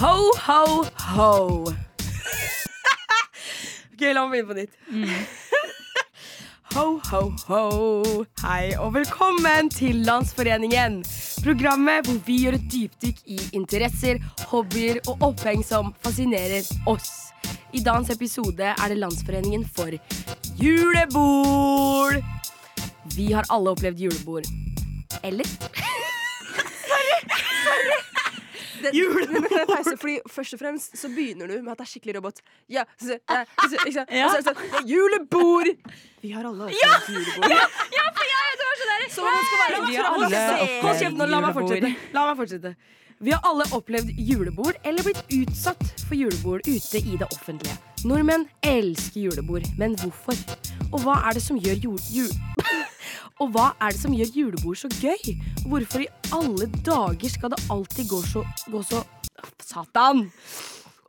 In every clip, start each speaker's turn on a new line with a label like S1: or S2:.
S1: Ho, ho, ho. ok, la meg begynne på nytt. ho, ho, ho. Hei og velkommen til Landsforeningen. Programmet hvor vi gjør et dypdykk i interesser, hobbyer og oppheng som fascinerer oss. I dagens episode er det Landsforeningen for julebord. Vi har alle opplevd julebord. Eller?
S2: Jule- Men kan jeg pause? Fordi Først og fremst så begynner du med at det er skikkelig robot. Ja, så, så, eh, så, ikke sant? Og så, er det sånn, ja, julebord! Vi har alle opplevd julebord. Så man skal være
S1: Vi
S2: Vi
S1: har
S2: har
S1: alle
S2: alle
S1: Hold kjeft nå, la meg
S3: julebord.
S1: fortsette. La meg fortsette. Vi har alle opplevd julebord eller blitt utsatt for julebord ute i det offentlige. Nordmenn elsker julebord, men hvorfor? Og hva er det som gjør jul... jul og hva er det som gjør julebord så gøy? Hvorfor i alle dager skal det alltid gå så, gå så Satan!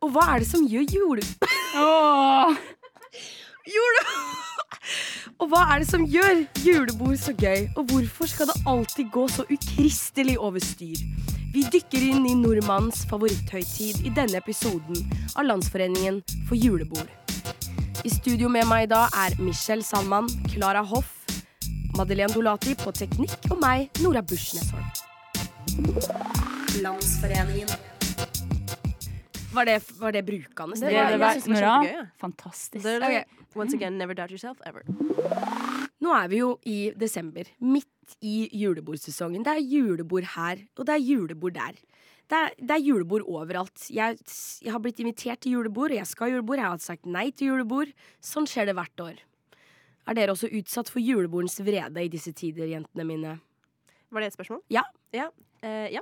S1: Og hva er det som gjør jule... Jule... Og hva er det som gjør julebord så gøy, og hvorfor skal det alltid gå så ukristelig over styr? Vi dykker inn i nordmannens favoritthøytid i denne episoden av Landsforeningen for julebord. I studio med meg i dag er Michelle Sandmann, Clara Hoff, Madeleine Dolati på teknikk og meg, Nora Busch Nesholm. Landsforeningen. Var det, var det brukende?
S2: Det
S3: Det
S2: var-
S3: det
S2: jeg
S3: var,
S2: synes det var
S3: Nora,
S2: kjempegøy, ja.
S3: fantastisk.
S2: Det er det.
S1: Ok.
S2: Once again, never doubt yourself ever.
S1: Nå er vi jo i desember, midt i julebordsesongen. Det er julebord her, og det er julebord der. Det er, det er julebord overalt. Jeg, jeg har blitt invitert til julebord, og jeg skal ha julebord. Jeg har sagt nei til julebord. Sånn skjer det hvert år. Er dere også utsatt for julebordens vrede i disse tider, jentene mine?
S2: Var det et spørsmål?
S1: Ja.
S2: Ja. Eh, ja.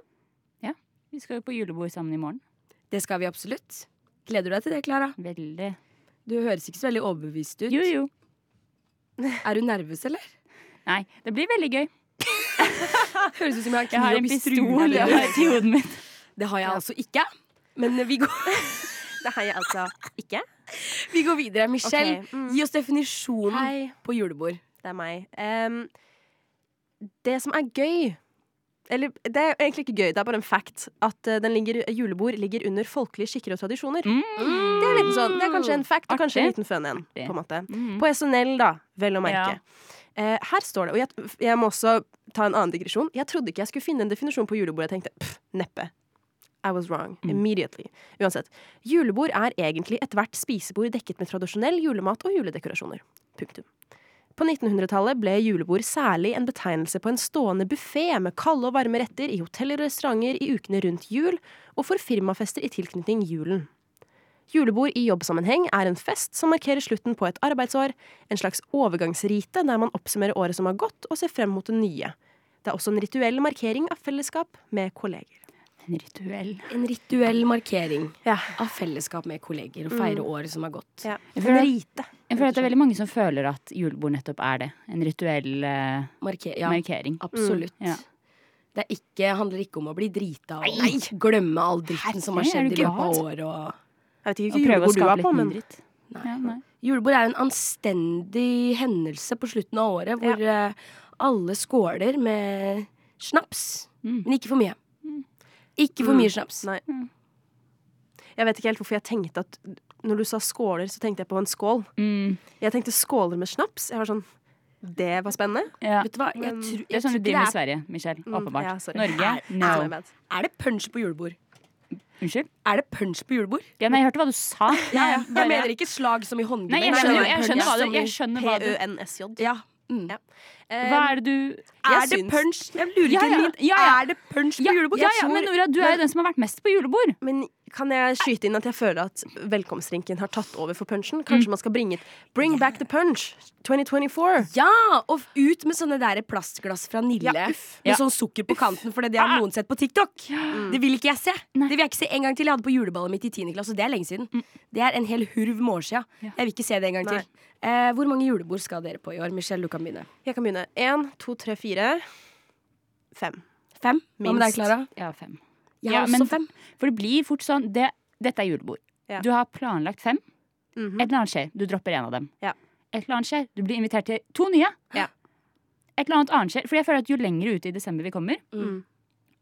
S3: Vi skal jo på julebord sammen i morgen.
S1: Det skal vi absolutt. Gleder du deg til det, Klara?
S3: Veldig.
S1: Du høres ikke så veldig overbevist ut.
S3: Jo, jo.
S1: Er du nervøs, eller?
S3: Nei, det blir veldig gøy.
S1: Høres ut som jeg har en
S3: Jeg har
S1: kniv
S3: en
S1: oppi
S3: pistol i
S1: strupen.
S3: hodet mitt.
S1: Det har jeg altså ikke. Men vi går,
S2: Det har jeg altså ikke.
S1: vi går videre. Michelle,
S2: Ok, mm.
S1: gi oss definisjonen
S2: Hei,
S1: på julebord.
S2: det er meg. Em, det som er gøy eller, Det er egentlig ikke gøy, det er bare en fact. At eh, den ligger, julebord ligger under folkelige skikker og tradisjoner.
S3: Mm.
S2: Det er, litt sånn, det er kanskje en fact og kanskje en
S3: Artig.
S2: liten fun en. På en måte.
S3: Mm.
S2: På SNL, da, vel å merke. Eh, her står det, og jeg, jeg må også ta en annen digresjon Jeg trodde ikke jeg skulle finne en definisjon på julebord. Jeg tenkte pff, neppe. I was wrong. Immediately. Uansett. Julebord er egentlig ethvert spisebord dekket med tradisjonell julemat og juledekorasjoner. Punktum. På 1900-tallet ble julebord særlig en betegnelse på en stående buffé med kalde og varme retter i hoteller og restauranter i ukene rundt jul, og for firmafester i tilknytning julen. Julebord i jobbsammenheng er en fest som markerer slutten på et arbeidsår, en slags overgangsrite der man oppsummerer året som har gått og ser frem mot det nye. Det er også en rituell markering av fellesskap med kolleger.
S3: En rituell.
S1: En rituell markering
S2: Ja.
S1: av fellesskap med kolleger
S3: Mm.
S1: og feire året som har gått.
S3: Jeg
S2: En
S3: føler,
S2: rite.
S3: jeg føler at det er veldig mange som føler at julebord nettopp er det. En rituell eh,
S1: Marke ja,
S3: markering.
S1: absolutt.
S3: Mm, ja.
S1: Det er ikke, handler ikke om å bli drita og glemme all dritten som har
S3: Herregud,
S1: skjedd
S3: er
S1: i
S3: du
S1: løpet av
S3: glad?
S1: året. Og...
S2: Jeg vet ikke
S3: Og
S2: hvilket
S3: prøve å
S2: julebord du
S3: skape
S2: er
S3: litt
S2: på, men
S3: mindre dritt. Ja, nei.
S1: Julebord er en anstendig hendelse på slutten av året hvor eh, alle skåler med snaps,
S3: Mm.
S1: men ikke for mye. Ikke for
S2: Mm.
S1: mye snaps.
S2: Nei. jeg vet ikke helt hvorfor jeg tenkte at Når du sa skåler, så tenkte jeg på en skål.
S3: Mm,
S2: Jeg tenkte skåler med snaps. Jeg var sånn Det var spennende.
S3: ja.
S1: Vet du hva? Jeg
S2: Men
S1: tror,
S3: Det er
S1: jeg tror
S3: sånn du
S1: ikke det
S3: driver med i
S1: er,
S3: Sverige, Michelle.
S2: Mm,
S3: Åpenbart.
S2: ja, sorry.
S3: Norge? No.
S2: My bad.
S1: er det punch på julebord?
S3: Unnskyld?
S1: Er det punch på julebord?
S3: Ja, nei, jeg hørte hva du sa.
S1: Jeg mener ikke slag som i håndgemeng.
S3: Nei, jeg
S2: Nei,
S3: skjønner,
S2: nei,
S3: jo- jeg
S2: nei,
S3: skjønner hva du
S1: som i-
S3: Jeg skjønner hva du
S2: P-ø-n-s-j.
S1: Ja. Mm.
S2: Ja.
S3: Hva er det du
S2: Jeg
S1: Er det
S2: syns-
S1: punch? Jeg lurer
S3: Ja,
S1: ikke
S3: ja,
S1: litt.
S3: ja, ja.
S1: Er det punch på
S3: Ja,
S1: julebord?
S3: ja,
S1: Jeg
S3: ja,
S1: tror-
S3: men Nora, du er jo den som har vært mest på julebord.
S2: Men kan jeg skyte inn at jeg føler at velkomstdrinken har tatt over for punchen?
S1: Mm.
S2: Kanskje man skal bringe Bring back the punch 2024.
S1: Ja, og ut med sånne der plastglass fra Nille.
S2: Ja, uff.
S1: Med
S3: Ja. Ah.
S1: sånn sukker på kanten, for det har noen sett på TikTok. Det vil ikke jeg se.
S3: Nei. Mm.
S1: Det vil jeg ikke se en gang til. Jeg hadde på juleballet mitt i 10. klasse, og det er lenge siden. Det er en hel hurv med år siden.
S3: Ja.
S1: Jeg vil ikke se det en gang
S2: Nei.
S1: til. Eh, hvor mange julebord skal dere på i år? Michelle, du kan begynne.
S2: Jeg kan begynne. Én, to, tre, fire. Fem.
S1: Fem? Hva med deg,
S2: Minst.
S1: Klara?
S3: Ja, fem.
S1: Jeg
S3: Ja,
S1: har
S3: men-
S1: også fem.
S3: For det blir fort sånn det, Dette er julebord.
S2: Ja.
S3: Du har planlagt fem.
S2: Mhm.
S3: Et eller annet skjer. Du dropper en av dem.
S2: Ja.
S3: Et eller annet skjer. Du blir invitert til to nye.
S2: Ja.
S3: Et eller annet annet skjer. For jeg føler at jo lenger ute i desember vi kommer,
S1: Mm.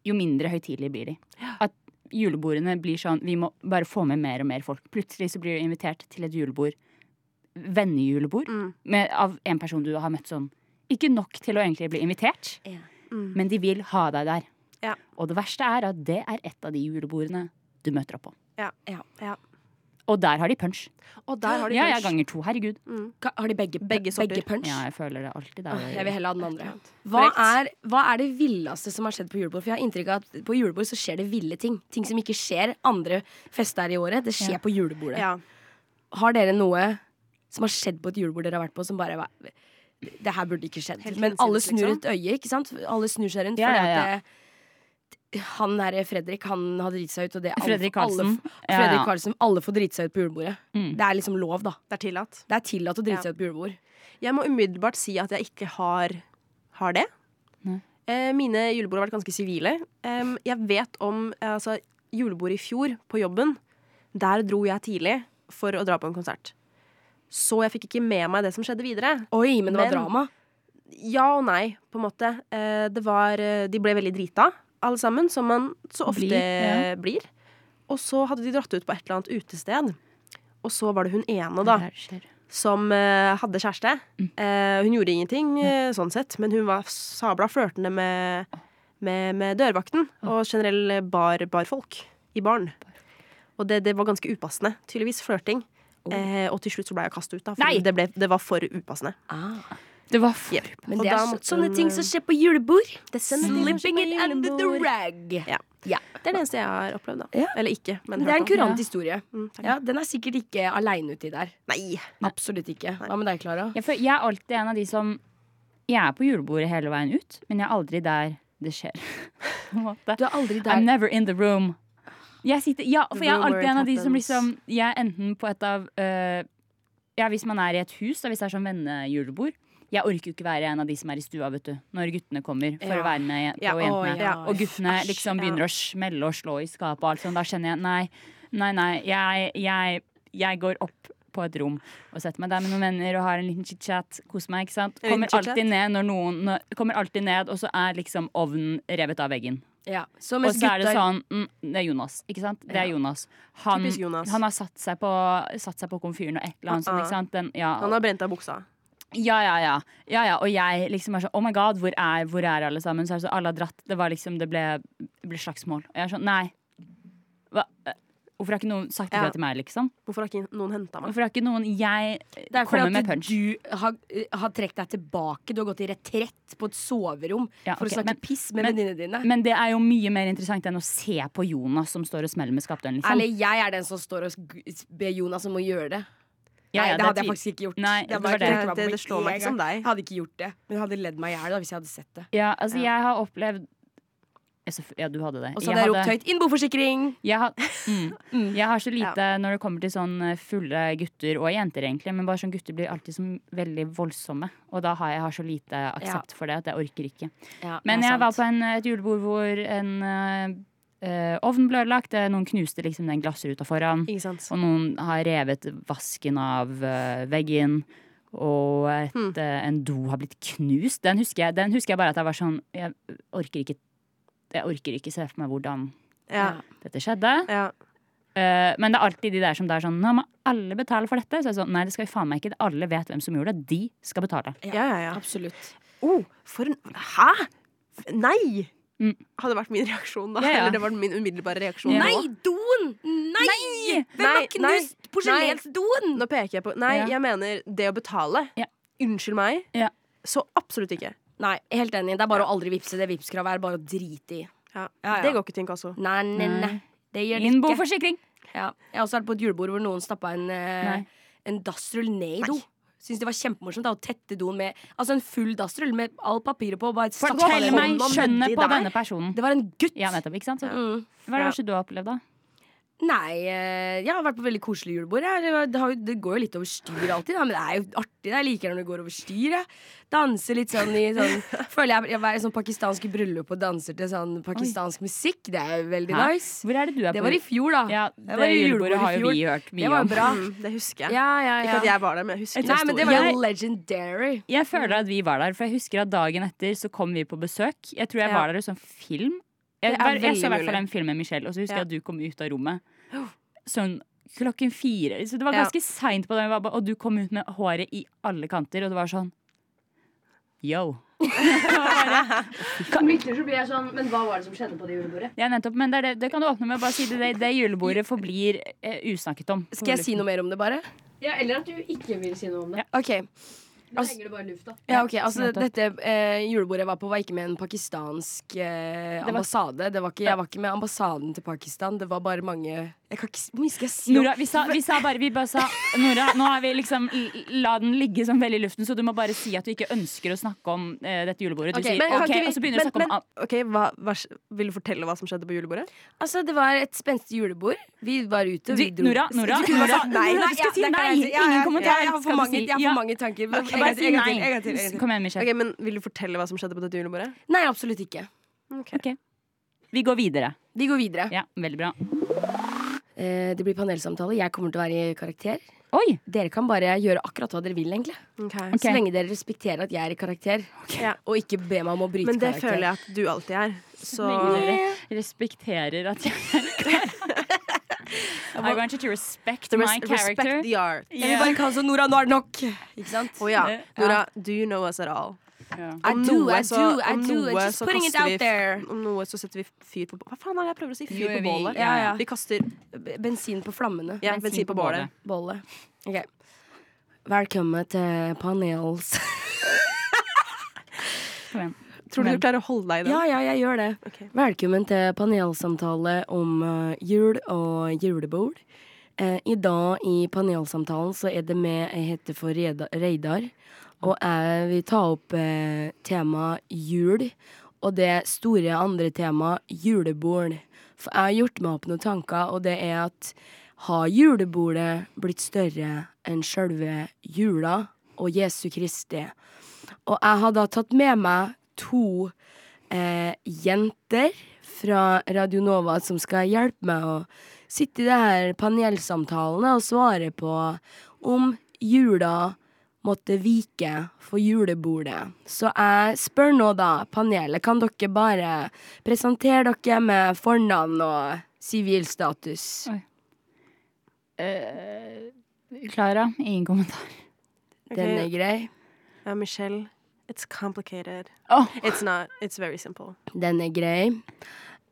S3: jo mindre høytidelig blir de.
S2: Ja.
S3: At julebordene blir sånn Vi må bare få med mer og mer folk. Plutselig så blir du invitert til et julebord. Vennejulebord.
S2: Mm.
S3: med- Av en person du har møtt sånn Ikke nok til å egentlig bli invitert,
S2: Mm.
S3: men de vil ha deg der.
S2: Ja.
S3: Og det verste er at det er et av de julebordene du møter opp på.
S2: Ja.
S1: Ja.
S2: Ja.
S3: Og der har de punch.
S2: Og der har de
S3: Ja, ja,
S2: punch.
S3: ganger to. Herregud.
S1: Ka- Har de begge,
S2: Begge sorter.
S1: punch?
S3: Ja, jeg føler det alltid.
S1: Åh, jeg vil
S3: Der.
S1: heller ha den andre. Hva er, hva er det villeste som har skjedd på julebord? For jeg har inntrykk av at på julebord så skjer det ville ting. Ting som ikke skjer andre fester i året. Det skjer
S3: Ja.
S1: på julebordet.
S2: Ja.
S1: Har dere noe som har skjedd på et julebord dere har vært på, som bare var Det her burde ikke skjedd.
S2: Helt
S1: Men alle
S2: hinsides,
S1: snur
S2: liksom.
S1: et øye, ikke sant? Alle snur seg rundt.
S3: Ja,
S1: fordi
S3: ja, ja.
S1: at det- Han der Fredrik, han har driti seg ut, og det alle-
S3: Fredrik
S1: Alle,
S3: Karlsen. Ja,
S1: Fredrik
S3: ja.
S1: Karlsen. Alle får drite seg ut på julebordet.
S3: Mm.
S1: Det er liksom lov, da.
S2: Det er tillatt.
S1: Det er tillatt å drite
S2: Ja.
S1: seg ut på julebord.
S2: Jeg må umiddelbart si at jeg ikke har, har det.
S3: Nei.
S2: Eh, mine julebord har vært ganske sivile. Em, jeg vet om eh, altså, julebordet i fjor på jobben. Der dro jeg tidlig for å dra på en konsert. Så jeg fikk ikke med meg det som skjedde videre.
S1: Oi, men det var
S2: Men-
S1: drama.
S2: Ja og nei, på en måte. Eh, det var, eh, de ble veldig drita, alle sammen, som man så ofte
S3: Blir, ja.
S2: blir. Og så hadde de dratt ut på et eller annet utested. Og så var det hun ene, da
S3: Der skjer.
S2: som eh, hadde kjæreste.
S1: Mm.
S2: Eh, hun gjorde ingenting eh, sånn sett, men hun var sabla flørtende med, med, med dørvakten og generell bar, barfolk i baren. Og det, det var ganske upassende, tydeligvis, flørting. Eh, og til slutt så ble jeg kastet ut, da,
S3: Nei!
S2: for det, ble, det var for upassende.
S3: Det var for
S2: Yep.
S1: Men
S2: Og
S1: det
S2: da
S1: er
S2: måtte
S1: sånne
S2: hun,
S1: ting
S2: eh,
S1: som skjer på julebord.
S2: det er sånne ting som
S1: Slipping
S2: skjer
S1: it
S2: på
S1: under the
S2: julebord.
S1: rag.
S2: Ja. Det er det eneste jeg har opplevd, da.
S1: Ja.
S2: Eller ikke, men
S1: Det er en
S2: hørt om.
S1: kurant historie.
S2: Mm, takk.
S1: Ja, Den er sikkert ikke aleine uti der.
S2: Nei.
S1: Absolutt ikke. Hva med deg, Klara?
S3: Jeg, føl- jeg er alltid en av de som Jeg er på julebordet hele veien ut, men jeg er aldri der det skjer. På en måte.
S1: Du er aldri
S3: I'm
S1: der.
S3: never in the room. Jeg sitter, ja, for
S2: The
S3: jeg er
S2: room where
S3: alltid
S2: it
S3: en av de som
S2: happens.
S3: liksom Jeg er enten på et av øh, Ja, hvis man er i et hus, da, hvis det er sånn vennejulebord Jeg orker jo ikke være en av de som er i stua, vet du, når guttene kommer for
S1: Ja.
S3: å være med på
S2: Ja, å,
S3: jentene.
S1: ja.
S3: Og guttene
S2: Æsj,
S3: liksom
S2: ja.
S3: begynner å smelle og slå i skapet og alt sånt. Da kjenner jeg nei, nei, nei. Jeg, jeg, jeg går opp på et rom og setter meg der med noen venner og har en liten chit-chat. Koser meg, ikke sant.
S2: En liten
S3: Kommer alltid
S2: chit-chat.
S3: ned når noen når, Kommer alltid ned, og så er liksom ovnen revet av veggen.
S1: Ja. Så
S3: Og
S1: mens
S3: så er det
S1: gutta-
S3: sånn mm, Det er Jonas, ikke sant? Det er Jonas. Han,
S2: Typisk Jonas.
S3: han har satt seg på, satt seg på komfyren og et eller annet sånt,
S2: Ah, ah.
S3: ikke sant? Den, ja.
S2: Han har brent av buksa.
S3: ja, ja, ja, ja, ja. Og jeg liksom er sånn Oh my god, hvor er, hvor er alle sammen? Så er det sånn, alle har dratt. Det var liksom Det ble, det ble slagsmål. Og jeg er sånn Nei. Hva? Eh, Hvorfor har ikke noen sagt ifra
S2: Ja.
S3: til meg, liksom?
S2: Hvorfor har ikke noen henta meg?
S3: Hvorfor har ikke noen Jeg eh,
S1: Det er fordi
S3: kommer
S1: at
S3: med punch.
S1: du har, eh, har trukket deg tilbake. Du har gått i retrett på et soverom
S3: Ja,
S1: for
S3: ok,
S1: å snakke
S3: men-
S1: piss med
S3: men-
S1: venninnene dine.
S3: Men det er jo mye mer interessant enn å se på Jonas som står og smeller med skapdøren, liksom.
S1: Eller jeg er den som står og sk- ber Jonas om å gjøre det.
S3: Ja,
S1: Nei,
S3: ja,
S1: det hadde jeg
S3: tvil.
S1: faktisk ikke gjort.
S3: Nei,
S1: Jeg
S3: det
S1: bare
S3: var det.
S1: trykket meg på
S2: Det- det slår meg
S1: en
S2: ikke som
S1: gang.
S2: deg.
S1: Jeg hadde ikke gjort det, men jeg hadde ledd meg i hjel da, hvis jeg hadde sett det.
S3: Ja, altså,
S2: Ja.
S3: jeg har opplevd Ja, selvfø- Ja, du hadde det.
S1: Og så hadde jeg ropt høyt 'innboforsikring'!
S3: Jeg har, mm, jeg har så lite når det kommer til sånn fulle gutter, og jenter egentlig, men bare sånn gutter blir alltid sånn veldig voldsomme. Og da har jeg har så lite aksept for det at jeg orker ikke.
S1: Ja,
S3: Men
S1: det er
S3: jeg var
S1: sant.
S3: på en, eh, et julebord hvor en eh, eh, ovn ble ødelagt, eh, noen knuste liksom den glassruta foran,
S2: Ikke sant?
S3: og noen har revet vasken av eh, veggen. Og et,
S2: Hmm.
S3: eh, en do har blitt knust. Den husker, jeg, den husker jeg bare at jeg var sånn Jeg orker ikke, jeg orker ikke se for meg hvordan
S2: Ja.
S3: dette skjedde.
S2: ja.
S3: Eh, men det er alltid de der som det er sånn Nå må alle betale for dette. Så jeg er sånn, Nei, det skal vi faen meg ikke. Alle vet hvem som gjorde det. De skal betale.
S2: ja, ja, ja.
S1: Absolutt.
S2: Oh, for en Hæ?! Nei!
S3: Mm.
S2: Hadde vært min reaksjon, da.
S3: Ja, ja.
S2: Eller det var min umiddelbare reaksjon.
S3: Ja.
S2: nå.
S1: Nei, doen! Nei! Hvem har
S2: Nei,
S1: knust porselensdoen?
S2: Nå peker jeg på Nei,
S3: Ja.
S2: jeg mener det å betale.
S3: Ja.
S2: Unnskyld meg.
S3: Ja.
S2: Så absolutt ikke.
S1: Nei, helt enig. Det er bare å aldri vippse. Det vippskravet er bare å drite i.
S2: Ja.
S1: Ja, ja.
S2: Det går ikke til inkasso.
S1: Nei, nei,
S3: Nei.
S1: nei. Det gjør det ikke.
S3: Innboforsikring!
S1: Ja. Jeg har også vært på et julebord hvor noen stappa en, eh,
S3: Nei.
S1: en dassrull ned i
S2: Nei.
S1: do. Syns det var kjempemorsomt da, å tette doen med Altså en full dassrull med all papiret på. og Bare stappa
S3: Fortell
S1: den i
S3: meg
S1: hånden.
S3: skjønnet på
S2: der.
S3: denne personen.
S1: Det var en gutt.
S3: Ja, nettopp. Ikke sant? Så,
S1: Mm.
S3: hva er det verste du har opplevd, da?
S1: Nei, eh, jeg har vært på veldig koselig julebord. jeg. Det, var- det, har, jo- det går jo litt over styr alltid, da, men det er jo artig. da. Jeg liker når det går over styr. Jeg. Danser litt sånn i sånn Føler jeg jeg var i sånn pakistansk bryllup og danser til sånn pakistansk musikk. Det er jo veldig
S3: Hæ?
S1: nice.
S3: Hvor er det du er
S1: Det
S3: på?
S1: var i fjor, da.
S3: ja,
S1: det
S3: det
S1: var i
S3: julebordet har jo
S1: julebordet i
S3: vi hørt
S1: Det
S3: mye
S1: var jo
S3: om.
S1: bra.
S2: Mm, det husker jeg.
S1: Ja, ja,
S2: Ikke at
S1: ja.
S2: jeg var der, men jeg husker
S1: Nei, men det var
S2: historien.
S1: jo legendary.
S3: Jeg
S1: Mm.
S3: føler at vi var der, for jeg husker at dagen etter så kom vi på besøk. Jeg tror jeg
S2: Ja.
S3: var der i sånn film. Jeg,
S1: Det er
S3: jeg, jeg så i
S1: veldig
S3: hvert fall
S1: mulig.
S3: den filmen, Michelle, og så husker
S1: Ja.
S3: jeg at du kom ut av rommet sånn klokken fire. Så det var
S1: Ja.
S3: ganske seint på den, jeg var bare- og du kom ut med håret i alle kanter, og det var sånn Yo.
S4: Plutselig så blir jeg sånn Men hva var det som skjedde på det julebordet?
S3: Ja, nettopp, men det, er det, det kan du åpne med. Bare si det. Det, det julebordet forblir eh, usnakket om.
S1: Skal jeg si noe mer om det, bare?
S4: Ja, Eller at du ikke vil si noe om det.
S1: OK.
S4: Da
S1: Altså-
S4: henger det bare i lufta.
S1: Ja, ok, altså
S3: nettopp.
S1: Dette eh, julebordet jeg var på, var ikke med en pakistansk eh, ambassade. Det var ikke, jeg var ikke med ambassaden til Pakistan. Det var bare mange jeg kan ikke, s- Hvor mye skal jeg si? om-
S3: Nora, vi sa, vi sa bare Vi bare sa Nora, nå har vi liksom l- La den ligge sånn veldig i luften, så du må bare si at du ikke ønsker å snakke om eh, dette julebordet. Du
S1: Ok, men
S3: sier
S1: kan
S3: OK,
S1: ikke vi-
S3: og så begynner
S1: men-
S3: du å snakke om
S1: men-
S3: an-
S2: Ok, hva, hva, Vil du fortelle hva som skjedde på julebordet?
S1: Altså, Det var et spenstig julebord. Vi var ute. Vi
S3: du,
S1: dro.
S3: Nora, Nora,
S2: kunne bare
S3: Nora,
S2: sagt nei.
S3: Nora, du
S2: Ja,
S3: skal si
S2: det kan
S3: nei!
S2: jeg si. Ja, ja,
S3: Ingen
S1: ja,
S2: ja,
S3: kommentar.
S1: jeg har for
S3: skal du
S1: mange,
S3: si.
S1: jeg har
S3: Ja,
S1: for mange tanker. Men- en
S3: Bare
S1: gang til,
S3: si
S1: en gang til, en gang til, en gang
S3: nei.
S1: til.
S3: Kom igjen, Michelle.
S2: Ok, men Vil du fortelle hva som skjedde på dette julebordet?
S1: Nei, absolutt ikke.
S3: Vi går videre.
S1: Vi går videre.
S3: Ja, veldig bra.
S1: Eh, det blir panelsamtale. Jeg kommer til å være i karakter.
S3: Oi!
S1: Dere kan bare gjøre akkurat hva dere vil, egentlig.
S2: Ok.
S3: Ok.
S1: Så lenge dere respekterer at jeg er i karakter,
S2: Ja.
S1: og ikke ber meg om å bryte
S2: Men det
S1: karakter.
S2: føler jeg at du alltid er. Så
S3: Lenge dere respekterer at jeg I'm going to respect my
S2: Res-
S3: character.
S2: Respect the art.
S1: Jeg vil bare kalle sånn Nora, nå er det nok! Ikke sant?
S2: Å ja. Nora, do you know us at all?
S3: Ja.
S1: Eh, I
S2: Om
S1: do,
S2: noe
S1: I
S2: så-
S1: do, I
S2: om
S1: do.
S2: noe
S1: I'm just
S2: så
S1: putting it
S2: kaster vi
S1: out there.
S2: f- Om noe så setter vi fyr på Hva faen er det jeg prøver å si? Fyr
S3: Jo, vi-
S2: på bålet.
S3: ja, ja.
S2: Vi kaster
S1: B- Bensin på flammene.
S2: ja, bensin på bålet.
S1: Bolle. Ok. Velkommen til panels.
S3: Kom igjen.
S2: Tror du
S3: Men-
S2: du klarer å holde deg i den?
S1: ja, ja, jeg gjør det.
S2: Ok.
S1: Velkommen til panelsamtale om eh, jul og julebord. Eh, I dag i panelsamtalen så er det med jeg heter for Reda- Reidar. Og jeg vil ta opp eh, tema jul, og det store andre tema julebord. For jeg har gjort meg opp noen tanker, og det er at har julebordet blitt større enn sjølve jula og Jesu Kristi? Og jeg har da tatt med meg to eh, jenter fra Radio Nova som skal hjelpe meg å sitte i det her panelsamtalene og svare på om jula måtte vike for julebordet. Så jeg spør nå da panelet, kan dere bare presentere dere med fornavn og sivilstatus?
S3: Eh, Klara, ingen kommentar.
S2: Ok.
S1: Den er grei.
S2: ja, Michelle. It's complicated.
S3: Åh.
S2: It's not. It's very simple.
S1: Den er grei.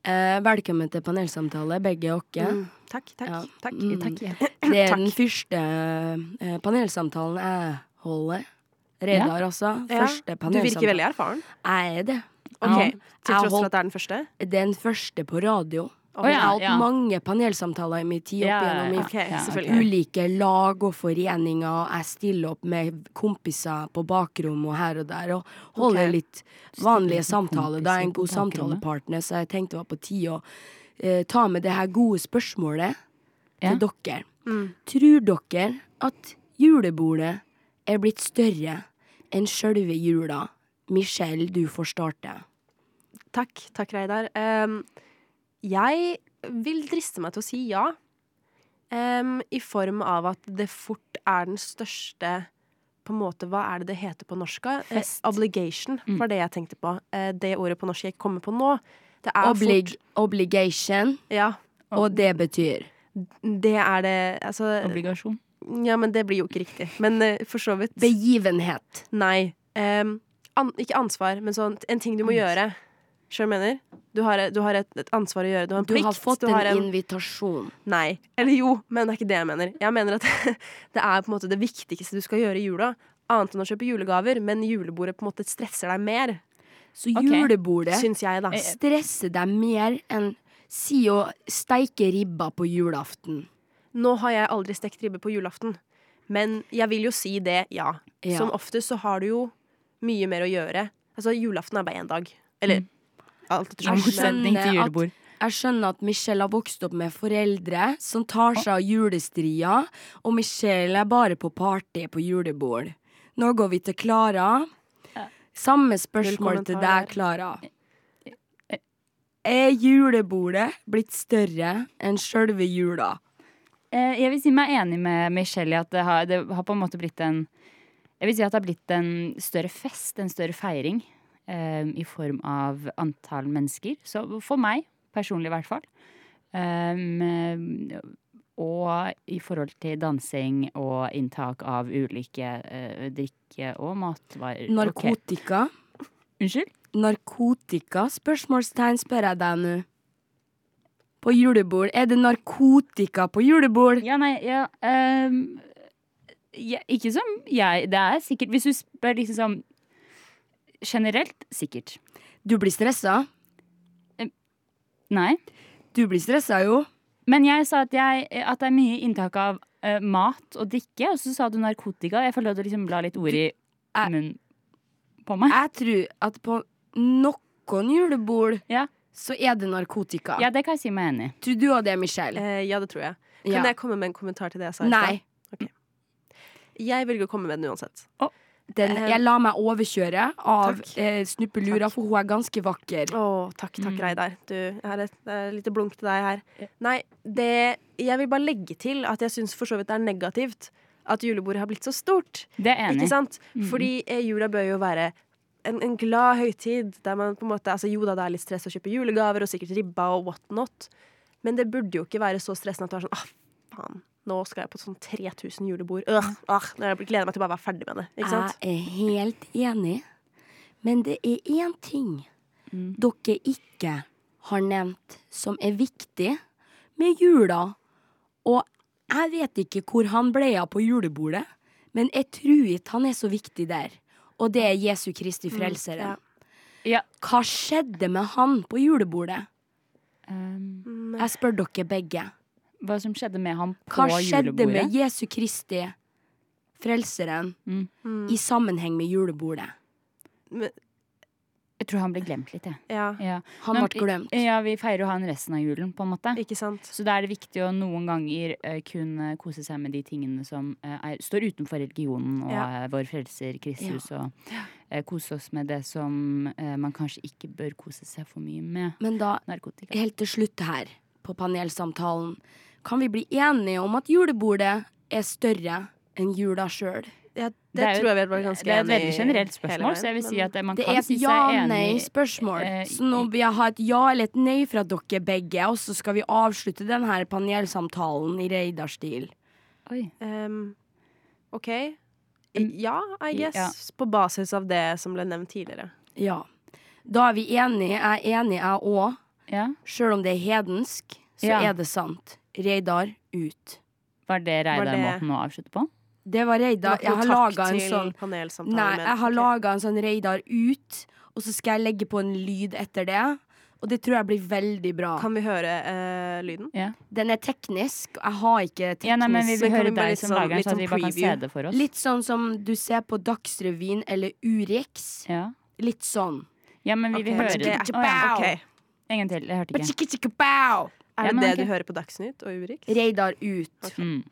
S1: Eh, velkommen til panelsamtale, begge dere.
S2: Mm. Takk, takk,
S1: Ja.
S2: takk.
S1: Mm.
S3: Takk.
S1: Det er
S2: Takk.
S1: den første eh, panelsamtalen jeg holder. Reidar, altså.
S2: Ja.
S1: Første sånn-
S2: Du virker
S1: panelsamtale.
S2: veldig erfaren.
S1: Jeg er det.
S2: Ok,
S3: Ja.
S2: Til
S1: Jeg
S2: tross for
S1: holdt-
S2: at det er den første?
S1: Det er den første på radio.
S2: Å,
S1: Jeg
S3: ja,
S1: har hatt
S3: ja.
S1: mange panelsamtaler i min tid opp
S3: Ja, ja,
S1: igjennom i
S3: ja.
S2: Ok,
S3: ok.
S2: selvfølgelig.
S1: ulike lag og foreninger, og jeg stiller opp med kompiser på bakrom og her og der, og holder
S2: Ok.
S1: litt vanlige
S3: med
S1: samtaler. Da er jeg en
S3: kompiser
S1: god
S3: på bakrommet.
S1: samtalepartner, så jeg tenkte det var på tide å eh, ta med det her gode spørsmålet
S3: Ja. Mm.
S1: til dere. Tror dere at julebordet er blitt større enn sjølve jula? Michelle, du får starte.
S2: Takk, takk Reidar. Ehm, jeg vil driste meg til å si ja. Ehm, I form av at det fort er den største på en måte, Hva er det det heter på norsk? da? Eh,
S3: Fest.
S2: obligation
S1: Mm.
S2: var det jeg tenkte på. Eh, det ordet på norsk jeg ikke kommer på nå. Det er
S1: Oblig
S2: fort
S1: obligation,
S2: Ja,
S1: og det betyr
S2: det er det Altså
S3: Obligasjon.
S2: Ja, men det blir jo ikke riktig. Men eh, for så vidt.
S1: begivenhet.
S2: Nei. ehm, an, ikke ansvar, men sånn en ting du må gjøre. Skjønner du hva jeg mener? Du har, du har et, et ansvar å gjøre. Du har en
S1: Du
S2: plikt.
S1: har fått
S2: har
S1: en invitasjon.
S2: Nei. Eller jo, men det er ikke det jeg mener. Jeg mener at det er på en måte det viktigste du skal gjøre i jula. Annet enn å kjøpe julegaver, men julebordet på en måte stresser deg mer,
S1: Så
S3: Ok. Eh,
S1: julebordet
S2: syns jeg,
S1: Eh,
S2: da.
S1: stresser deg mer enn si å steike ribba på julaften.
S2: Nå har jeg aldri stekt ribbe på julaften, men jeg vil jo si det, ja.
S1: Ja.
S2: Som oftest så har du jo mye mer å gjøre. Altså, julaften er bare én dag. Eller alt etter
S3: I
S2: som.
S1: Absolutt.
S3: motsetning
S1: skjønner at-
S3: til julebord.
S1: Jeg skjønner at Michelle har vokst opp med foreldre som tar seg av julestria, og Michelle er bare på party på julebord. Nå går vi til Klara. Samme spørsmål
S2: Null
S1: til
S2: kommentar
S1: deg, Klara.
S3: Eh,
S1: Er julebordet blitt større enn sjølve jula?
S3: Eh, jeg vil si meg enig med Michelle i at det har, det har på en måte blitt en Jeg vil si at det har blitt en større fest, en større feiring. eh, i form av antall mennesker. Så for meg, personlig i hvert fall. Ehm, og i forhold til dansing og inntak av ulike eh, drikke- og matvarer. Ok.
S1: Narkotika?
S3: Unnskyld?
S1: Narkotika? Spørsmålstegn spør jeg deg nå. På julebord. Er det narkotika på julebord?
S3: Ja, nei, ja, ehm, ja Ikke som jeg Det er sikkert Hvis du spør liksom sånn generelt, sikkert.
S1: Du blir stressa.
S3: Nei.
S1: Du blir stressa jo.
S3: Men jeg sa at, jeg, at det er mye inntak av eh, mat og drikke, og så sa du narkotika. Jeg føler at du liksom la litt ord i
S1: Du- jeg-
S3: munnen på meg.
S1: Jeg tror at på noen julebord
S3: Ja.
S1: så er det narkotika.
S3: Ja, det kan jeg si meg enig i.
S1: Tror du òg det, Michelle?
S2: Eh, ja, det tror jeg. Kan
S1: Ja.
S2: jeg komme med en kommentar til det jeg sa? i
S1: Nei.
S2: stad? Jeg velger å komme med den uansett.
S1: Den,
S2: Eh,
S1: jeg la meg overkjøre av
S2: takk.
S1: eh, snuppelura, for hun er ganske vakker.
S2: Å, takk, takk,
S3: Mm.
S2: Reidar. Du, jeg har et, det er et lite blunk til deg her.
S3: Ja.
S2: Nei, det Jeg vil bare legge til at jeg syns for så vidt det er negativt at julebordet har blitt så stort.
S3: Det er jeg enig. Mm.
S2: Ikke
S3: i.
S2: sant? Fordi eh, jula bør jo være en, en glad høytid der man på en måte Altså jo da, det er litt stress å kjøpe julegaver og sikkert ribba og what not, men det burde jo ikke være så stressende at du er sånn ah, faen. Nå skal jeg på sånn 3000 julebord. Øh, ah, nå jeg gleder jeg meg til å bare være ferdig med det.
S3: Ah.
S2: Ikke sant?
S1: Jeg er helt enig, men det er én ting
S3: Mm.
S1: dere ikke har nevnt som er viktig med jula. Og jeg vet ikke hvor han ble av på julebordet, men jeg tror ikke han er så viktig der. Og det er Jesu Kristi Frelseren.
S3: Mm, Ja.
S1: Hva skjedde med han på julebordet?
S3: Um,
S2: Mm,
S1: Jeg spør dere begge.
S3: hva som skjedde med ham på
S1: Hva skjedde
S3: julebordet?
S1: med Jesu Kristi Frelseren
S3: Mm.
S2: Mm.
S1: i sammenheng med julebordet?
S3: Jeg tror han ble glemt litt, jeg.
S2: ja,
S3: Ja.
S1: Han
S3: Men- eh,
S1: ble glemt.
S3: ja, vi feirer jo han resten av julen, på en måte.
S2: ikke sant?
S3: Så da er det viktig å noen ganger eh, kunne kose seg med de tingene som eh, er, står utenfor religionen og
S2: Ja.
S3: eh, vår frelser Kristus, og eh, kose oss med det som eh, man kanskje ikke bør kose seg for mye med.
S1: Men da,
S3: Narkotika.
S1: helt til slutt her på panelsamtalen, kan vi bli enige om at julebordet er større enn jula sjøl?
S2: Ja, det,
S3: Det er jo-
S2: tror jeg vi var ganske
S3: Det er et
S2: enig
S3: veldig
S2: i
S3: generelt
S2: hele
S3: spørsmål,
S2: veien,
S3: så jeg vil si
S2: men-
S3: at eh, man
S1: Det
S3: kan
S1: er et
S3: si seg enig
S1: ja-nei-spørsmål.
S3: eh,
S1: Så nå vil jeg ha et ja eller et nei fra dere begge, og så skal vi avslutte denne panelsamtalen i Reidar-stil.
S3: Oi.
S2: Ehm, OK.
S3: Mm.
S2: Ja, I guess.
S3: Ja.
S2: På basis av det som ble nevnt tidligere.
S1: Ja. Da er vi enige. Jeg er enig, jeg òg.
S3: Ja.
S1: Sjøl om det er hedensk, så
S3: Ja.
S1: er det sant. Reidar ut.
S3: Var det
S2: Var det-
S3: Reidar-måten å avslutte på?
S1: Det var Reidar.
S2: Det
S1: Jeg har
S2: var ikke noe takk
S1: laga en
S2: til
S1: sånn
S2: panelsamtalen
S1: Nei,
S2: med-
S1: jeg har
S2: Ok.
S1: laga en sånn Reidar ut, og så skal jeg legge på en lyd etter det. Og det tror jeg blir veldig bra.
S2: Kan vi høre eh, lyden?
S3: Ja.
S1: Den er teknisk, og jeg har ikke teknisk
S3: ja, nei, men vi
S2: Men
S3: vil
S2: kan vi
S3: høre
S2: bare
S3: deg
S2: litt
S3: som
S2: sånn-
S3: lager den,
S2: litt
S3: så at vi
S2: sånn
S3: bare kan se
S2: preview?
S3: det for oss.
S1: Litt sånn som du ser på Dagsrevyen eller Urix.
S3: Ja.
S1: Litt sånn.
S3: ja, men vi vil
S2: Ok,
S3: høre
S2: det
S3: det.
S2: er-
S3: Å, ja.
S2: Ok.
S3: En gang til. Jeg hørte ikke.
S1: Ba-chicka-chicka-bow!
S2: Er
S3: Ja,
S2: det
S3: men
S2: det
S3: ok.
S2: du hører på Dagsnytt og Urix?
S1: Reidar ut.
S3: Mm.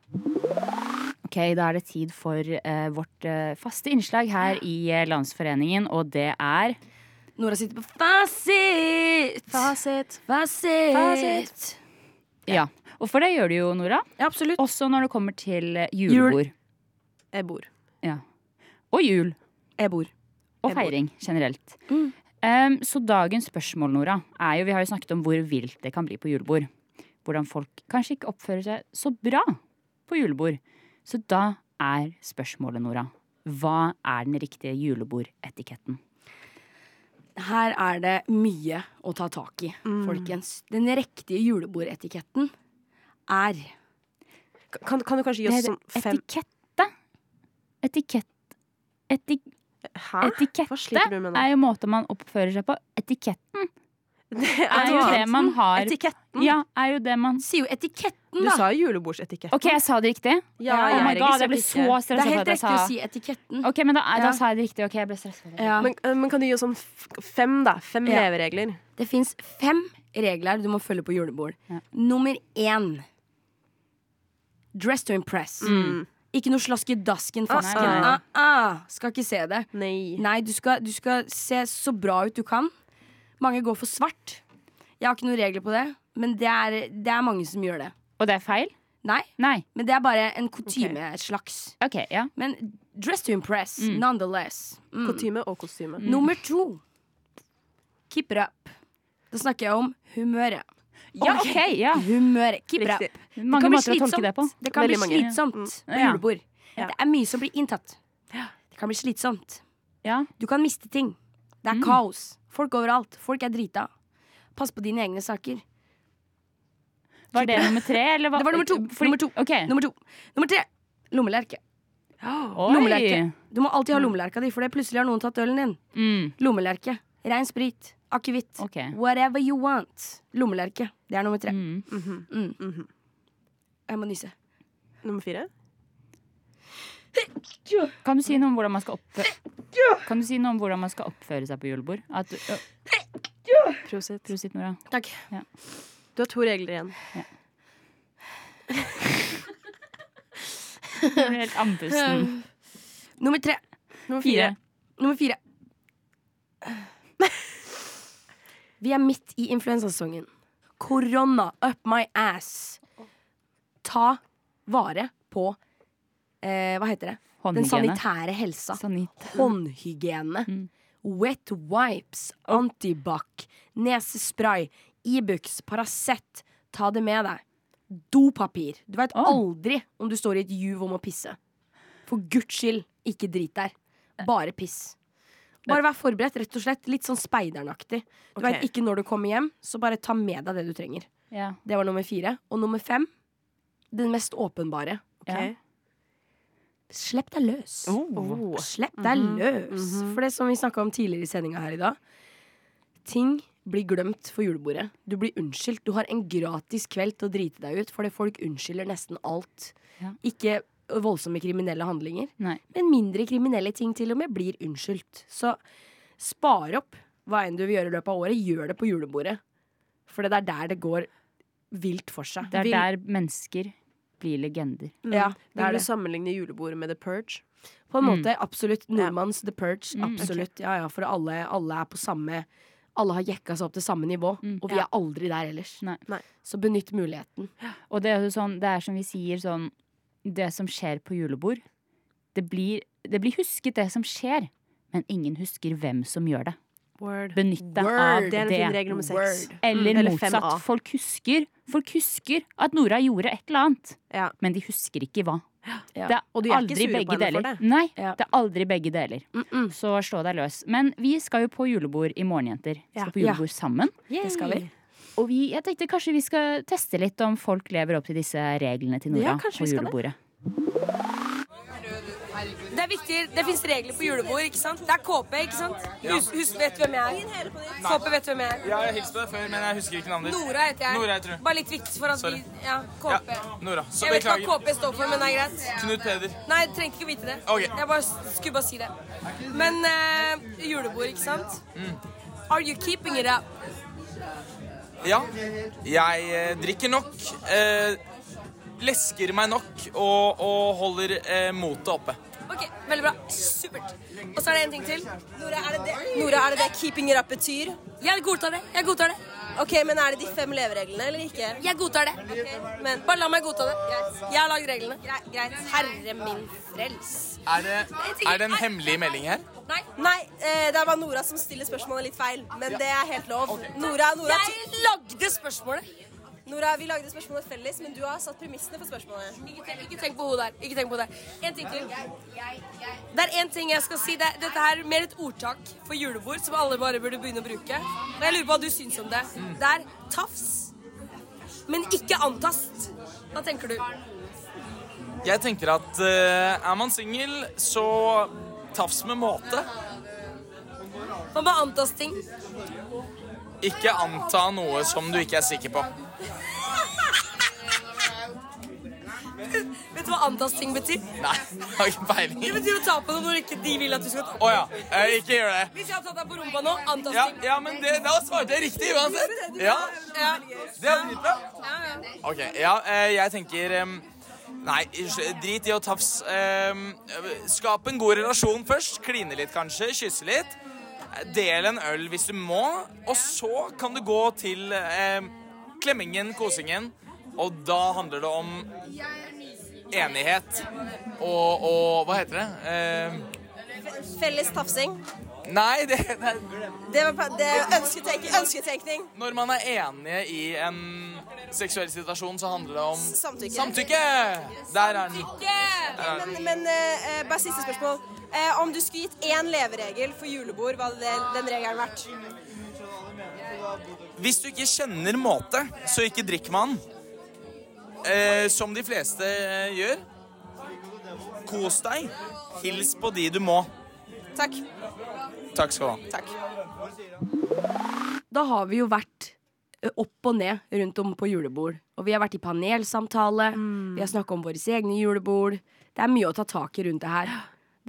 S3: Ok, Da er det tid for eh, vårt eh, faste innslag her i eh, Landsforeningen, og det er
S1: Nora sitter på fasit!
S2: Fasit.
S1: Fasit!
S2: Fasit.
S3: Ja. Og for det gjør du jo, Nora.
S1: Ja, absolutt.
S3: Også når det kommer til eh, julebord.
S2: Jeg bor.
S3: Og jul.
S1: Jeg bor.
S3: Og
S2: Jeg bor.
S3: feiring generelt.
S1: Mm.
S3: Em, så dagens spørsmål, Nora, er jo Vi har jo snakket om hvor vilt det kan bli på julebord. Hvordan folk kanskje ikke oppfører seg så bra på julebord. Så da er spørsmålet, Nora, hva er den riktige julebordetiketten?
S1: Her er det mye å ta tak i,
S3: Mm.
S2: Mm.
S1: folkens. Den riktige julebordetiketten er
S2: Kan, kan du kanskje gi
S3: Det
S2: oss
S3: er
S2: sånn fem
S3: etikette. Etikett... Etik
S1: Ah,
S2: Hæ? Hva
S3: etikette
S2: sliter du med nå?
S3: er jo måten man oppfører seg på. Etiketten
S2: Det
S3: er jo
S2: noe
S3: det
S2: annet.
S3: man har
S1: Mm.
S2: Etiketten.
S3: Ja, er jo det man
S1: Sier jo etiketten,
S2: Du
S1: da.
S2: sa jo julebordsetikette.
S3: OK, jeg sa det riktig?
S2: Ja,
S3: oh my
S2: jeg
S3: god, jeg ble
S2: registrerte
S1: Det er
S2: ikke.
S3: så stressa for
S1: helt
S3: at jeg
S1: riktig
S3: sa
S1: å si etiketten.
S3: OK, men da, da
S1: Ja.
S3: sa jeg det riktig. OK, jeg ble stressa.
S1: Ja.
S2: Men, eh, men kan du gi oss sånn f- fem, da? Fem
S1: Ja.
S2: leveregler.
S1: Det fins fem regler du må følge på julebord.
S3: Ja.
S1: Nummer én Dress to impress.
S2: Mm.
S1: Ikke noe slaskedasken-fasken. Ah,
S2: Ah, ah.
S1: ah, skal ikke se det.
S2: Nei.
S1: Nei, du skal, du skal se så bra ut du kan. Mange går for svart. Jeg har ikke noen regler på det, men det er, det er mange som gjør det.
S3: Og det er feil?
S1: Nei,
S3: Nei.
S1: men det er bare en kutyme slags.
S3: OK, ja.
S1: Men dress to impress, nonetheless. Mm.
S3: Mm.
S2: Kutyme og kostyme.
S1: Nummer to Keep it up. Da snakker jeg om humøret.
S3: Ja, OK! Ja.
S1: Humøret. Keep it up.
S2: Riktig.
S1: Det
S3: Mange
S1: kan bli
S3: måter å tolke det på. Mm.
S1: slitsomt. Det kan
S2: Veldig
S1: bli
S2: mange.
S1: slitsomt
S3: Ja.
S1: på julebord.
S2: Ja.
S1: Det er mye som blir inntatt. Det kan bli slitsomt.
S3: Ja.
S1: Du kan miste ting. Det er
S3: Mm.
S1: kaos. Folk overalt. Folk er drita. Pass på dine egne saker.
S3: Var det nummer tre, eller hva?
S1: Det var nummer to. Nummer to.
S3: OK.
S1: Nummer to. Nummer tre. Lommelerke.
S3: Oi.
S1: Lommelerke. Du må alltid ha lommelerka di, for det plutselig har noen tatt ølen din.
S3: Mm.
S1: Lommelerke. Rein sprit. Akevitt.
S3: OK.
S1: Whatever you want. Lommelerke. Det er nummer tre.
S3: Mm.
S1: Mm. Jeg må nyse.
S2: Mhm. Nummer fire.
S3: Kan du si noe om hvordan man skal oppføre Kan du si noe om hvordan man skal oppføre seg på julebord? At, Å,
S2: Prosit.
S3: prosit, Nora.
S1: Takk.
S2: Du har to regler igjen.
S3: Du er helt andpusten.
S1: Nummer tre.
S2: Nummer
S3: Fire.
S1: Nummer fire. Vi er midt i influensasesongen. Korona up my ass. Ta vare på eh, Hva heter det? Den
S3: Håndhygiene.
S1: sanitære helsa.
S3: Sanit.
S1: Håndhygiene.
S3: Mm.
S1: Wet wipes, antibac, nesespray, Ibux, Paracet. Ta det med deg. Dopapir. Du veit
S3: Å.
S1: aldri om du står i et juv om å pisse. For guds skyld, ikke drit der. Bare piss. Bare vær forberedt, rett og slett. Litt sånn speidernaktig. Du
S2: Ok.
S1: vet ikke når du kommer hjem, så bare ta med deg det du trenger.
S3: Ja.
S1: Det var nummer fire. Og nummer fem, den mest åpenbare.
S3: ja.
S1: Slipp deg løs.
S2: Oh.
S1: Slipp deg
S3: Mhm,
S1: løs. For det som vi snakka om tidligere i sendinga her i dag Ting blir glemt for julebordet. Du blir unnskyldt. Du har en gratis kveld til å drite deg ut, fordi folk unnskylder nesten alt.
S3: Ja.
S1: Ikke voldsomme kriminelle handlinger,
S3: Nei.
S1: men mindre kriminelle ting til og med blir unnskyldt. Så spar opp hva enn du vil gjøre i løpet av året. Gjør det på julebordet. For det er der det går vilt for seg.
S3: Det er
S1: Vil-
S3: der mennesker blir legender.
S1: Ja, det er
S2: Mm. Vil
S1: det.
S2: du sammenligne julebordet med The Purge?
S1: På en
S3: Mm.
S1: måte, absolutt. Nordmanns The Purge.
S3: Mm, ok.
S1: absolutt. Ja, ja, for alle, alle er på samme Alle har jekka seg opp til samme nivå.
S3: Mm.
S1: Og vi er aldri der ellers.
S3: Nei.
S2: Nei.
S1: Så benytt muligheten.
S3: Og det er jo sånn, det er som vi sier sånn Det som skjer på julebord, det blir, det blir husket, det som skjer. Men ingen husker hvem som gjør det.
S2: Word.
S3: Benytt deg av
S1: Word.
S2: Det
S3: det.
S2: er en fin regel nummer seks.
S1: Word.
S3: Eller,
S2: Mm, eller
S3: motsatt.
S2: 5A.
S3: Folk husker, folk husker at Nora gjorde et eller annet,
S2: Ja.
S3: men de husker ikke hva.
S1: Ja.
S3: Det er
S2: Og de er ikke
S3: aldri
S2: sure på
S3: begge
S2: henne for
S3: deler.
S2: det.
S3: Nei,
S1: Ja.
S3: det er aldri begge deler.
S1: Mm -mm.
S3: Så slå deg løs. Men vi skal jo på julebord i morgen, jenter. Vi
S2: Ja.
S3: Skal på julebord sammen.
S1: Det skal vi.
S3: Og vi, jeg tenkte kanskje vi skal teste litt om folk lever opp til disse reglene til Nora
S2: Ja, kanskje
S3: på
S2: vi skal det.
S3: julebordet.
S1: Det er viktig, det fins regler på julebord, ikke sant? Det er KP, ikke sant? Husk, vet hvem jeg er. KP vet hvem jeg er.
S5: Jeg har hilst på deg før, men jeg husker ikke navnet ditt.
S1: Nora heter jeg.
S5: Nora heter du.
S1: Bare litt viktig for at
S5: Sorry.
S1: Ja,
S5: Ja, Nora. Så beklager.
S1: KP står for, men det er greit.
S5: Knut Peder.
S1: Nei, jeg trengte ikke å vite det.
S5: Ok.
S1: Jeg bare skulle bare si det. Men eh, julebord, ikke sant?
S5: Mm.
S1: Are you keeping it up?
S5: Ja. Jeg eh, drikker nok. Eh, lesker meg nok og, og holder eh, motet oppe.
S1: Ok, veldig bra. Supert. Og så er det en ting til. Nora, er det det, Nora, er det, det keeping it up betyr? Jeg godtar det. Jeg godtar det. Ok, Men er det de fem levereglene eller ikke? Jeg godtar det. Men bare la meg godta det. Jeg har lagd reglene. greit. Herre min frels.
S5: Er det, er det en hemmelig melding her?
S1: Nei, eh, det er bare Nora som stiller spørsmålet litt feil. Men det er helt lov. Nora, Nora Jeg lagde spørsmålet! Nora, Vi lagde spørsmålet felles, men du har satt premissene for spørsmålet. Ikke tenk, ikke tenk på henne der. Ikke tenk på det. En ting til. Det er én ting jeg skal si. Det, er- dette her er mer et ordtak for julebord som alle bare burde begynne å bruke. Og jeg lurer på hva du syns om det. Det er tafs, men ikke antast. Hva tenker du?
S5: Jeg tenker at eh, er man singel, så tafs med måte.
S1: Man må antas ting.
S5: Ikke anta noe som du ikke er sikker på.
S1: Vet du hva antas ting betyr?
S5: Nei, jeg har ikke
S1: Det
S5: peiling.
S1: betyr å ta på noe når ikke de vil at du skal ta
S5: Å ja. eh, Ikke gjør det.
S1: Hvis jeg hadde tatt deg på rumpa nå, antasting.
S5: Ja, ja men det, da svarte jeg riktig uansett. Ja,
S1: Ja.
S5: Det er dritbra.
S1: Ja, ja.
S5: Ok, ja, eh, jeg tenker em, Nei, unnskyld, drit i å tafs. Em, skap en god relasjon først. Kline litt, kanskje. Kysse litt. Eh, Del en øl hvis du må. Og så kan du gå til em, klemmingen, kosingen. Og da handler det om enighet og, og Hva heter det? Em,
S1: Felles tafsing.
S5: Nei, det, det er
S6: Det var pa- det er ønsketenkning. ønsketenkning.
S5: Når man er enige i en seksuell situasjon, så handler det om
S6: Samtykke.
S5: Samtykke! Der er den.
S6: Men, men eh, eh, bare siste spørsmål. Eh, om du skulle gitt én leveregel for julebord, hva hadde det- den regelen vært?
S5: Hvis du ikke kjenner måte, så ikke drikk med den. Eh, som de fleste eh, gjør. Kos deg. Hils på de du må.
S6: Takk.
S5: Takk skal du ha.
S6: Takk.
S1: Da har vi jo vært ø, opp og ned rundt om på julebord. Og vi har vært i panelsamtale, vi har snakka om våre egne julebord. Det er mye å ta tak i rundt det her.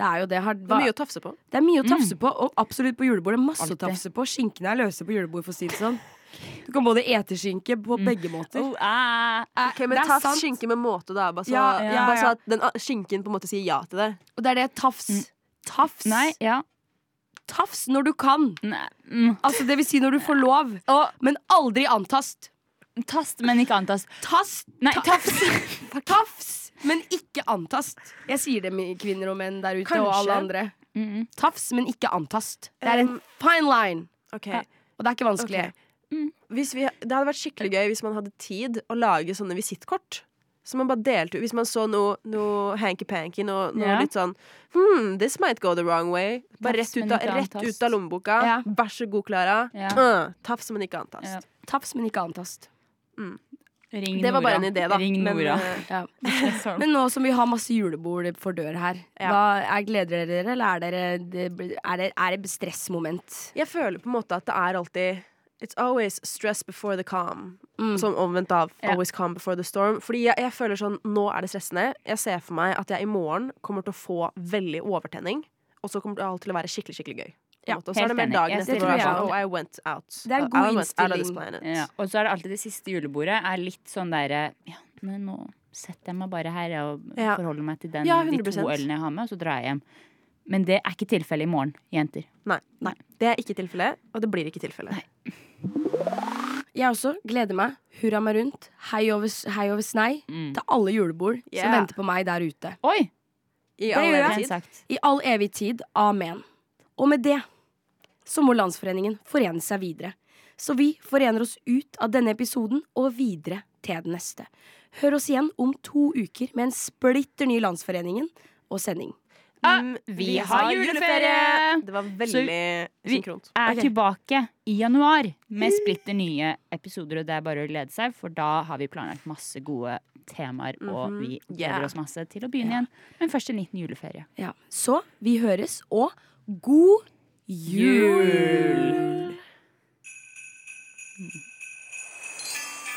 S1: Det er jo det. Har,
S2: Det er mye å tafse på.
S1: Det er mye å Mm. tafse på, og absolutt på julebordet. Masse
S3: Alltid.
S1: å tafse på. Skinkene er løse på julebord, for å si det sånn. Du kan både ete skinke på begge måter.
S3: Oh, ah, ah.
S2: Ok, men
S1: det er
S2: tafs
S1: sant.
S2: skinke med måte, da. Bare så,
S1: Ja, ja,
S2: bare så
S1: ja.
S2: at den a- skinken på en måte sier ja til det.
S1: Og det er det tafs. Tafs.
S3: Nei, ja.
S1: Tafs når du kan.
S3: Nei. Mm.
S1: Altså, det vil si når du får lov.
S3: Og
S1: Men aldri antast.
S3: tast, men ikke antast.
S1: Tast.
S3: Nei, tafs.
S1: Tafs. Men ikke antast. Jeg sier det med kvinner og menn der ute og
S2: Kanskje. Um,
S1: alle andre.
S3: Mm, mm.
S1: Tafs, men ikke antast. Det er en fine line.
S2: Ok.
S1: Og det er ikke vanskelig.
S2: Ok.
S3: Mm.
S2: hvis vi, det hadde vært skikkelig gøy hvis man hadde tid å lage sånne visittkort. Så man bare delte ut Hvis man så noe, noe hanky-panky, noe, noe
S3: Ja.
S2: litt sånn Hmm, this might go the wrong way. Bare
S3: Tafs,
S2: rett ut
S3: men
S2: av,
S3: ikke
S2: rett
S3: antast.
S2: ut av lommeboka.
S1: Ja.
S2: Vær så god, Klara.
S3: Ja.
S2: Uh, tafs, men ikke antast.
S3: Ja.
S1: Tafs, men ikke antast.
S3: Ring
S2: Det var bare
S3: Nora.
S2: en idé, da.
S3: Ring
S2: Men,
S3: Nora.
S2: eh,
S1: Ja.
S3: Sånn.
S1: Men nå som vi har masse julebord for dør her,
S2: Ja.
S1: hva er, gleder dere dere, eller er, dere, det, blir- er det er det stressmoment?
S2: jeg føler på en måte at det er alltid It's always stress before the calm.
S1: Mm.
S2: Som omvendt av
S3: Ja.
S2: always calm before the storm. Fordi jeg, jeg føler sånn, nå er det stressende. Jeg ser for meg at jeg i morgen kommer til å få veldig overtenning. Og så kommer det alt til å være skikkelig skikkelig gøy. På en
S1: Ja,
S2: måte. Og så er
S3: helt
S2: det mer
S3: enig.
S2: dagen
S3: Jeg
S2: etter
S1: ser
S2: hvor jeg
S1: det,
S2: er sånn
S1: ja.
S2: Oh, I went out.
S1: Det er en
S2: I
S1: god
S2: went out of this
S1: innstilling.
S2: planet.
S3: Ja. Og så er det alltid det siste julebordet er litt sånn derre Ja, men nå setter jeg meg bare her og
S2: Ja.
S3: forholder meg til den,
S2: Ja,
S3: de to
S2: 100%.
S3: ølene jeg har med, og så drar jeg hjem. Men det er ikke tilfellet i morgen, jenter.
S2: Nei, nei. Det er ikke tilfellet, og det blir ikke tilfellet.
S1: Jeg også gleder meg. Hurra meg rundt. Hei over, s- hei over snei
S3: Mm.
S1: til alle julebord
S2: Yeah.
S1: som venter på meg der ute.
S3: Oi!
S2: I
S1: Det
S2: all
S1: gjør jeg.
S2: evig
S3: Pent
S2: tid.
S3: sagt.
S1: I all evig tid. Amen. Og med det så må Landsforeningen forene seg videre. Så vi forener oss ut av denne episoden og videre til den neste. Hør oss igjen om to uker med en splitter ny Landsforeningen og sending.
S2: Mm,
S3: vi har juleferie!
S2: Det var veldig
S3: vi-
S2: synkront.
S3: Er
S1: Ok.
S3: tilbake i januar med splitter nye episoder, og det er bare å glede seg, for da har vi planlagt masse gode temaer, og
S1: Mhm.
S3: vi gleder
S2: Yeah.
S3: oss masse til å begynne igjen. Men først en liten juleferie.
S1: Ja. Så vi høres, og god jul!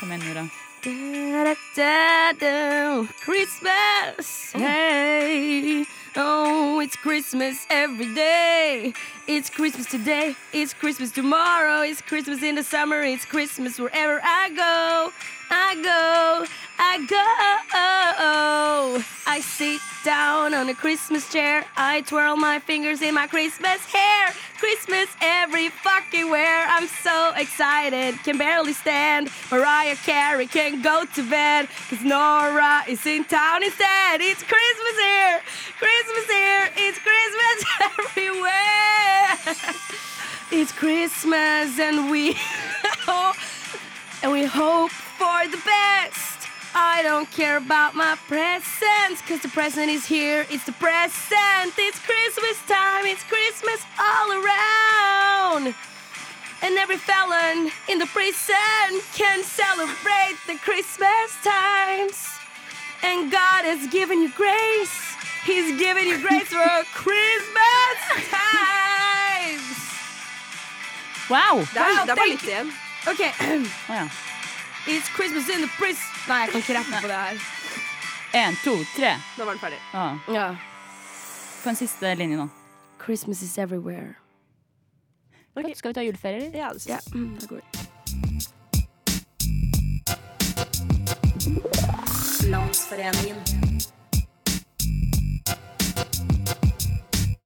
S3: Kom igjen, Nora.
S1: Da-da-da-da, Christmas, hey. Oh, it's Christmas every day. It's Christmas today, it's Christmas tomorrow, it's Christmas in the summer, it's Christmas wherever I go. I go, I go. I sit down on a Christmas chair, I twirl my fingers in my Christmas hair. Christmas every fucking where. I'm so excited, can barely stand. Mariah Carey can go to bed, cause Nora is in town instead. It's Christmas here, Christmas here, it's Christmas everywhere. it's Christmas and we. and we hope for the best. I don't care about my presents, cause the present is here, it's the present. It's Christmas time, it's Christmas all around. And every felon in the prison can celebrate the Christmas times. And God has given you grace, He's given you grace for Christmas times.
S3: Wow!
S2: Det er,
S1: Wow,
S2: det er bare
S1: thank
S2: litt igjen.
S1: Okay.
S3: Å ja.
S1: It's Christmas in the prison Nei, jeg kan ikke rappe på det her.
S3: En, to, tre.
S2: Nå var den ferdig.
S3: Ja. På en siste linje nå.
S1: Christmas is everywhere.
S3: Skal vi ta juleferie, eller?
S2: Ja, det synes
S1: Ja, mm, det går.
S6: Landsforeningen.